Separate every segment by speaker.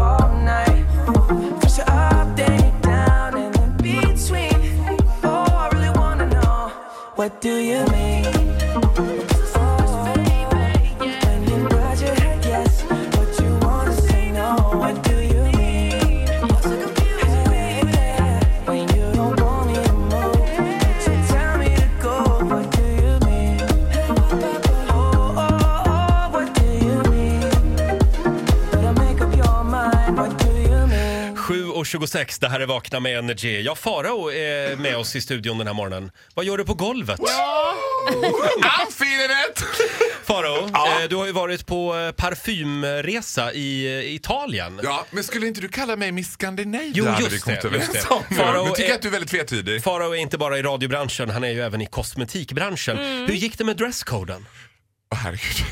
Speaker 1: all night. Push it up, then it down, and in between. Oh, I really wanna know, what do you mean? When you nod your head yes, but you wanna say no. What do you mean? When you don't want me to move, but you tell me to go. What do you mean? Oh, oh, oh, what do you mean? Better make up your mind. What do you mean?
Speaker 2: 7.26, det här är Vakna med Energy. Ja, Farao är med oss i studion den här morgonen. Vad gör du på golvet?
Speaker 3: I'm feeling it!
Speaker 2: Farao, eh, du har ju varit på eh, parfymresa i eh, Italien.
Speaker 3: Ja, men skulle inte du kalla mig Miss Scandinavia?
Speaker 2: Jo,
Speaker 3: hade
Speaker 2: just
Speaker 3: vi kommit
Speaker 2: det, just
Speaker 3: överens
Speaker 2: det.
Speaker 3: om.
Speaker 2: Farao
Speaker 3: Nu tycker
Speaker 2: är-
Speaker 3: jag att du är väldigt tvetydig.
Speaker 2: Farao är inte bara i radiobranschen, han är ju även i kosmetikbranschen.
Speaker 3: Mm.
Speaker 2: Hur gick det med dresscoden?
Speaker 3: Åh, herregud.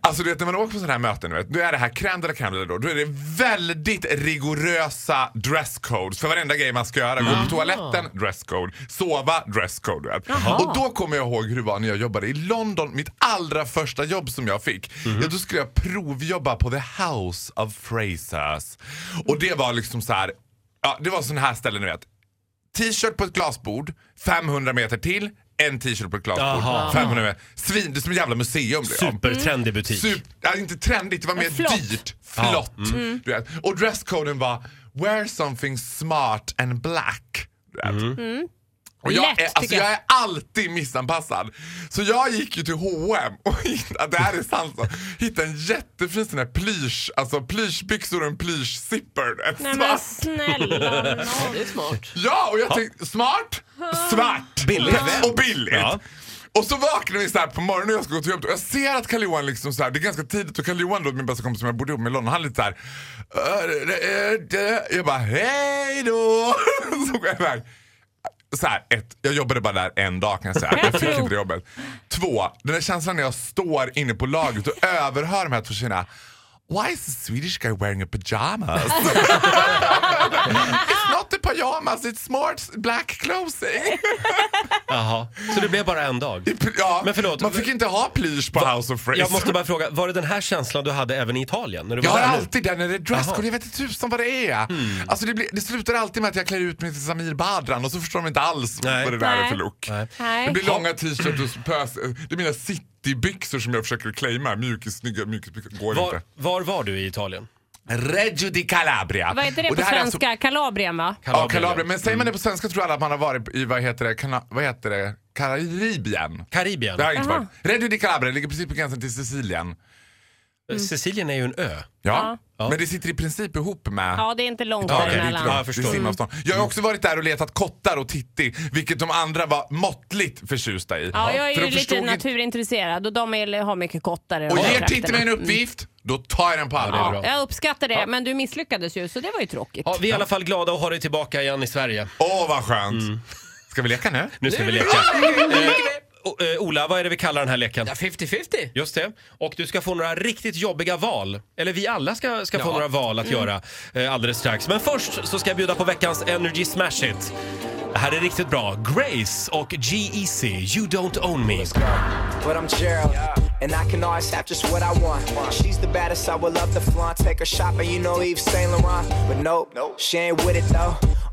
Speaker 3: Alltså du vet när man åker på sådana här möten, du vet, då är det här crème de la crème de la då. Då är det väldigt rigorösa dresscodes för varenda grej man ska göra. Gå på toaletten, dresscode. Sova, dresscode. du vet. Och då kommer jag ihåg hur det var när jag jobbade i London, mitt allra första jobb som jag fick. Ja, då skulle jag provjobba på The House of Frasers. Och det var liksom så här, ja det var sådana här ställen du vet. T-shirt på ett glasbord, 500 meter till, en t-shirt på ett glasbord,
Speaker 2: Jaha.
Speaker 3: 500 meter. Svin, det är som ett jävla museum. blev jag.
Speaker 2: Supertrendig butik.
Speaker 3: Sup- ja, inte trendigt, det var mer dyrt. Flott. Du vet. Och dresscoden var wear something smart and black. Du vet. Och jag,
Speaker 4: Mm. Lätt,
Speaker 3: är, alltså,
Speaker 4: tycker jag.
Speaker 3: jag är alltid missanpassad. Så jag gick ju till H&M och hittade, det här är sant, så, hittade en jättefin sån här plysch, alltså plyschbyxor och en plyschzipper. du vet, Alltså,
Speaker 4: Nej men
Speaker 3: svart.
Speaker 4: snälla nån.
Speaker 3: Ja, och jag tänkte smart, svart
Speaker 2: Billigt.
Speaker 3: och billigt.
Speaker 2: Ja.
Speaker 3: Och så vaknar vi så här på morgonen och jag ska gå till jobbet och jag ser att karl johan liksom så här, det är ganska tidigt och karl johan då, min bästa kompis som jag bodde ihop med i London, han är lite så här. "Äh, äh, äh, äh." Jag bara hej då! Så går jag iväg. Så här, ett, jag jobbade bara där en dag kan jag säga. Jag fick inte det jobbet. Två, den där känslan när jag står inne på lagret och överhör de här två tjejerna. Why is the Swedish guy wearing a pyjamas? it's not a pyjamas, it's smart black clothing.
Speaker 2: Jaha, så det blev bara en dag.
Speaker 3: Ja,
Speaker 2: Men förlåt.
Speaker 3: man fick inte ha plysch på House of Fraser.
Speaker 2: Jag måste bara fråga, var det den här känslan du hade även i Italien? När du
Speaker 3: Jag
Speaker 2: var
Speaker 3: har
Speaker 2: där nu?
Speaker 3: alltid den när det är
Speaker 2: Jaha. Mm.
Speaker 3: dresscode, jag vet inte tusan vad det är. Alltså det, blir, det slutar alltid med att jag klär ut mig till Samir Badran och så förstår de inte alls
Speaker 2: Nej.
Speaker 3: vad det där är för
Speaker 4: Nej.
Speaker 3: look.
Speaker 2: Nej. Mm.
Speaker 4: Nej.
Speaker 3: Det blir långa t-shirts och pös, det är mina citybyxor som jag försöker claima, mjukis, snygga mjukisbyxor, går
Speaker 2: Var,
Speaker 3: inte.
Speaker 2: var var du i Italien?
Speaker 3: Reggio di Calabria.
Speaker 4: Vad heter det
Speaker 3: Och
Speaker 4: på
Speaker 3: här är
Speaker 4: svenska? Calabria va?
Speaker 3: Alltså, ja, Calabria. Men säger man
Speaker 2: Mm.
Speaker 3: det på svenska tror alla att man har varit i, vad heter det, Kana, vad heter det? Karibien.
Speaker 2: Karibien.
Speaker 3: Det har jag inte varit. Reggio di Calabria ligger precis på gränsen till Sicilien.
Speaker 2: Eh, Sicilien är ju en ö.
Speaker 3: Ja. men det sitter i princip ihop med...
Speaker 4: Ja det är inte långt
Speaker 2: Italien.
Speaker 3: det är inte
Speaker 2: Ja,
Speaker 4: däremellan.
Speaker 2: jag
Speaker 3: långt.
Speaker 2: förstår. Mm.
Speaker 3: Det är simavstånd. Jag har också varit där och letat kottar och titti, vilket de andra var måttligt förtjusta i.
Speaker 4: Ja, jag är
Speaker 3: För
Speaker 4: ju
Speaker 3: de förstod
Speaker 4: lite
Speaker 3: inte-
Speaker 4: naturintresserad och de är, har mycket kottar i de
Speaker 3: Och
Speaker 4: här
Speaker 3: ger Titti
Speaker 4: trakterna.
Speaker 3: mig en uppgift, då tar jag den på allvar.
Speaker 2: bra.
Speaker 4: Jag uppskattar det, men du misslyckades ju så det var ju tråkigt.
Speaker 2: Ja, vi är i alla fall glada att ha dig tillbaka igen i Sverige.
Speaker 3: Åh, vad skönt.
Speaker 2: Mm.
Speaker 3: Ska vi leka nu?
Speaker 2: Nu ska vi leka. Eh, o- eh, Ola, vad är det vi kallar den här leken?
Speaker 5: Ja, 50-50.
Speaker 2: Just det. Och du ska få några riktigt jobbiga val. Eller vi alla ska, ska få
Speaker 5: Ja. Mm.
Speaker 2: några val att göra eh, alldeles strax. Men först så ska jag bjuda på veckans Energy Smash It. Det här är riktigt bra. Grace och G-Eazy, You Don't Own Me.
Speaker 6: But I'm Gerald, and I can always have just what I want. She's the baddest, I would love to flaunt. Take her shopping, you know Eve Saint Laurent. But nope, she ain't with it though.